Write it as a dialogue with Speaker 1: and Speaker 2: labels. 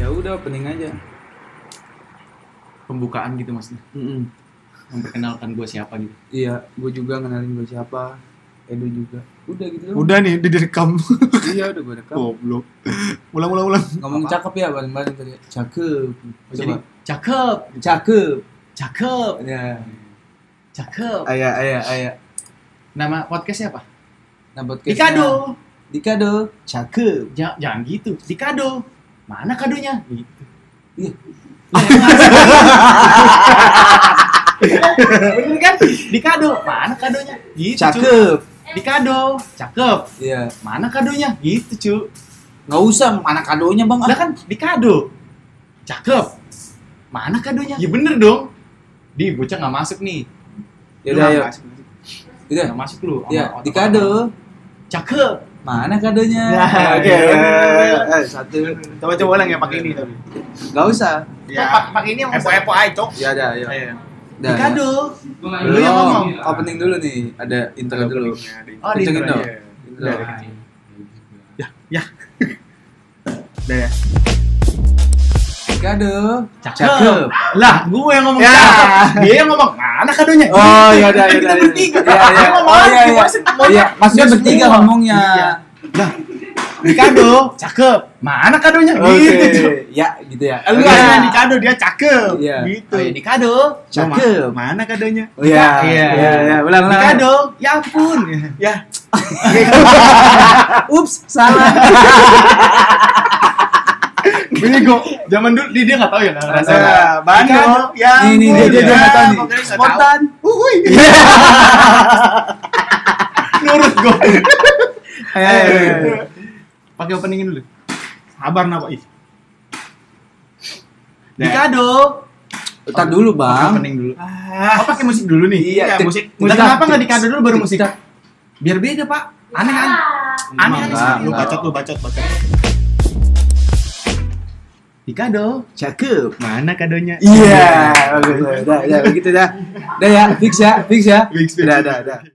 Speaker 1: Ya udah opening aja.
Speaker 2: Pembukaan gitu maksudnya.
Speaker 1: Mm-mm.
Speaker 2: Memperkenalkan gue siapa gitu.
Speaker 1: Iya, gue juga kenalin gue siapa. Edu juga. Udah gitu doang.
Speaker 2: Udah nih, direkam.
Speaker 1: Iya, udah gue rekam.
Speaker 2: Goblok. Ulang, ulang, ulang.
Speaker 1: Ngomong cakep ya bareng-bareng tadi. Cakep.
Speaker 2: Jadi,
Speaker 1: Coba.
Speaker 2: cakep,
Speaker 1: Cakep.
Speaker 2: cakep,
Speaker 1: Ya.
Speaker 2: cakep.
Speaker 1: Ayah, ayah, ayah.
Speaker 2: Nama podcastnya apa?
Speaker 1: Nah, podcastnya-
Speaker 2: Dikado.
Speaker 1: Dikado. Cakep.
Speaker 2: Ja- jangan gitu. Dikado. Mana kadonya? Gitu. Oh,
Speaker 1: Iya.
Speaker 2: Lah, emang asli. Bener kan? Dikado. Mana kadonya? Gitu. Cakep.
Speaker 1: Cakep.
Speaker 2: Dikado. Cakep.
Speaker 1: Iya.
Speaker 2: Mana kadonya? Gitu, cu.
Speaker 1: Nggak usah mana kadonya, Bang. Ah.
Speaker 2: Lah kan dikado. Cakep. Mana kadonya? Ya bener dong. Di bocah nggak masuk nih.
Speaker 1: Ya udah, ayo.
Speaker 2: Nggak masuk.
Speaker 1: Udah.
Speaker 2: Nggak masuk lu.
Speaker 1: Ya,
Speaker 2: Sama otak-
Speaker 1: dikado.
Speaker 2: Cakep.
Speaker 1: Mana kadonya?
Speaker 2: Ya,
Speaker 1: Oke.
Speaker 2: ya, ya,
Speaker 1: Satu.
Speaker 3: Coba coba ulang ya pakai ini tapi.
Speaker 1: Gak usah.
Speaker 2: Pak- Pakai ini yang Oh,
Speaker 3: Epo-epo aja, Cok.
Speaker 1: Ya ada, ayo.
Speaker 3: Iya.
Speaker 1: Dah.
Speaker 2: Dikado.
Speaker 1: Belum,
Speaker 3: Lu yang ngomong.
Speaker 1: Iya, opening dulu nih. Ada intro dulu.
Speaker 2: Oh, di
Speaker 1: Kencengin
Speaker 2: intro
Speaker 1: dong.
Speaker 3: aja.
Speaker 1: Intro.
Speaker 3: Udah ya.
Speaker 1: Dikado.
Speaker 2: Cakep. Lah, gue yang ngomong
Speaker 3: Ya.
Speaker 2: cakep. Dia yang ngomong mana kadonya?
Speaker 1: Oh, ya udah, ya
Speaker 2: Eh, Kita
Speaker 1: udah.
Speaker 2: bertiga.
Speaker 1: Ya, ya.
Speaker 2: Dia ngomong
Speaker 1: Oh,
Speaker 2: apa?
Speaker 1: iya, iya.
Speaker 2: Maksud-
Speaker 1: Iya, maksudnya
Speaker 2: Dia
Speaker 1: bertiga
Speaker 2: semua.
Speaker 1: ngomongnya.
Speaker 2: Iya. Lah, di kado, cakep. Mana kadonya? Gitu.
Speaker 1: Oke.
Speaker 2: Cok.
Speaker 1: Ya, gitu ya.
Speaker 3: Lu
Speaker 2: Iya.
Speaker 3: ada di kado dia cakep.
Speaker 1: Iya.
Speaker 3: Gitu.
Speaker 2: Oh, ya, di kado.
Speaker 1: Cakep.
Speaker 3: Mana kadonya?
Speaker 1: Oh, Iya,
Speaker 2: Iya.
Speaker 1: iya, iya. Ulang,
Speaker 2: Di
Speaker 1: ulang.
Speaker 2: kado. Ya ampun.
Speaker 1: Iya.
Speaker 3: Ya.
Speaker 1: Ups, salah.
Speaker 2: Bego. Zaman dulu dia enggak tahu ya
Speaker 1: Rasa.
Speaker 2: rasanya.
Speaker 3: Ada
Speaker 1: Dikado.
Speaker 3: bano ya.
Speaker 1: Nih, nih, dia, dia, dia,
Speaker 3: ampun,
Speaker 1: nggak
Speaker 3: ya.
Speaker 1: tahu nih.
Speaker 3: Pokoknya nggak tahu.
Speaker 1: Spontan.
Speaker 2: Uhuy. Nurut gue. Iya,
Speaker 1: Ayo, ayo, ayo, ayo.
Speaker 2: Pakai openingin dulu.
Speaker 3: Sabar napa ih.
Speaker 2: Di kado.
Speaker 1: Ntar dulu,
Speaker 2: Nah, Pakai
Speaker 1: Bang.
Speaker 2: Opening dulu. Oh, pakai musik dulu nih.
Speaker 1: Iya,
Speaker 3: Iya,
Speaker 1: tik-
Speaker 3: musik.
Speaker 2: Lah,
Speaker 3: Musik
Speaker 2: kenapa
Speaker 3: apa
Speaker 2: nggak di kado dulu baru musik? Biar beda, Pak. Aneh kan? Aneh
Speaker 1: Emang,
Speaker 2: aneh
Speaker 1: Bang.
Speaker 2: sendiri.
Speaker 3: Lu bacot lu bacot bacot.
Speaker 2: Di kado.
Speaker 1: Cakep.
Speaker 3: Mana kadonya?
Speaker 1: Iya,
Speaker 3: Iya.
Speaker 1: bagus. gitu Udah, udah begitu dah. Udah ya, fix ya, fix ya.
Speaker 3: Fix, fix.
Speaker 1: Udah, udah, udah.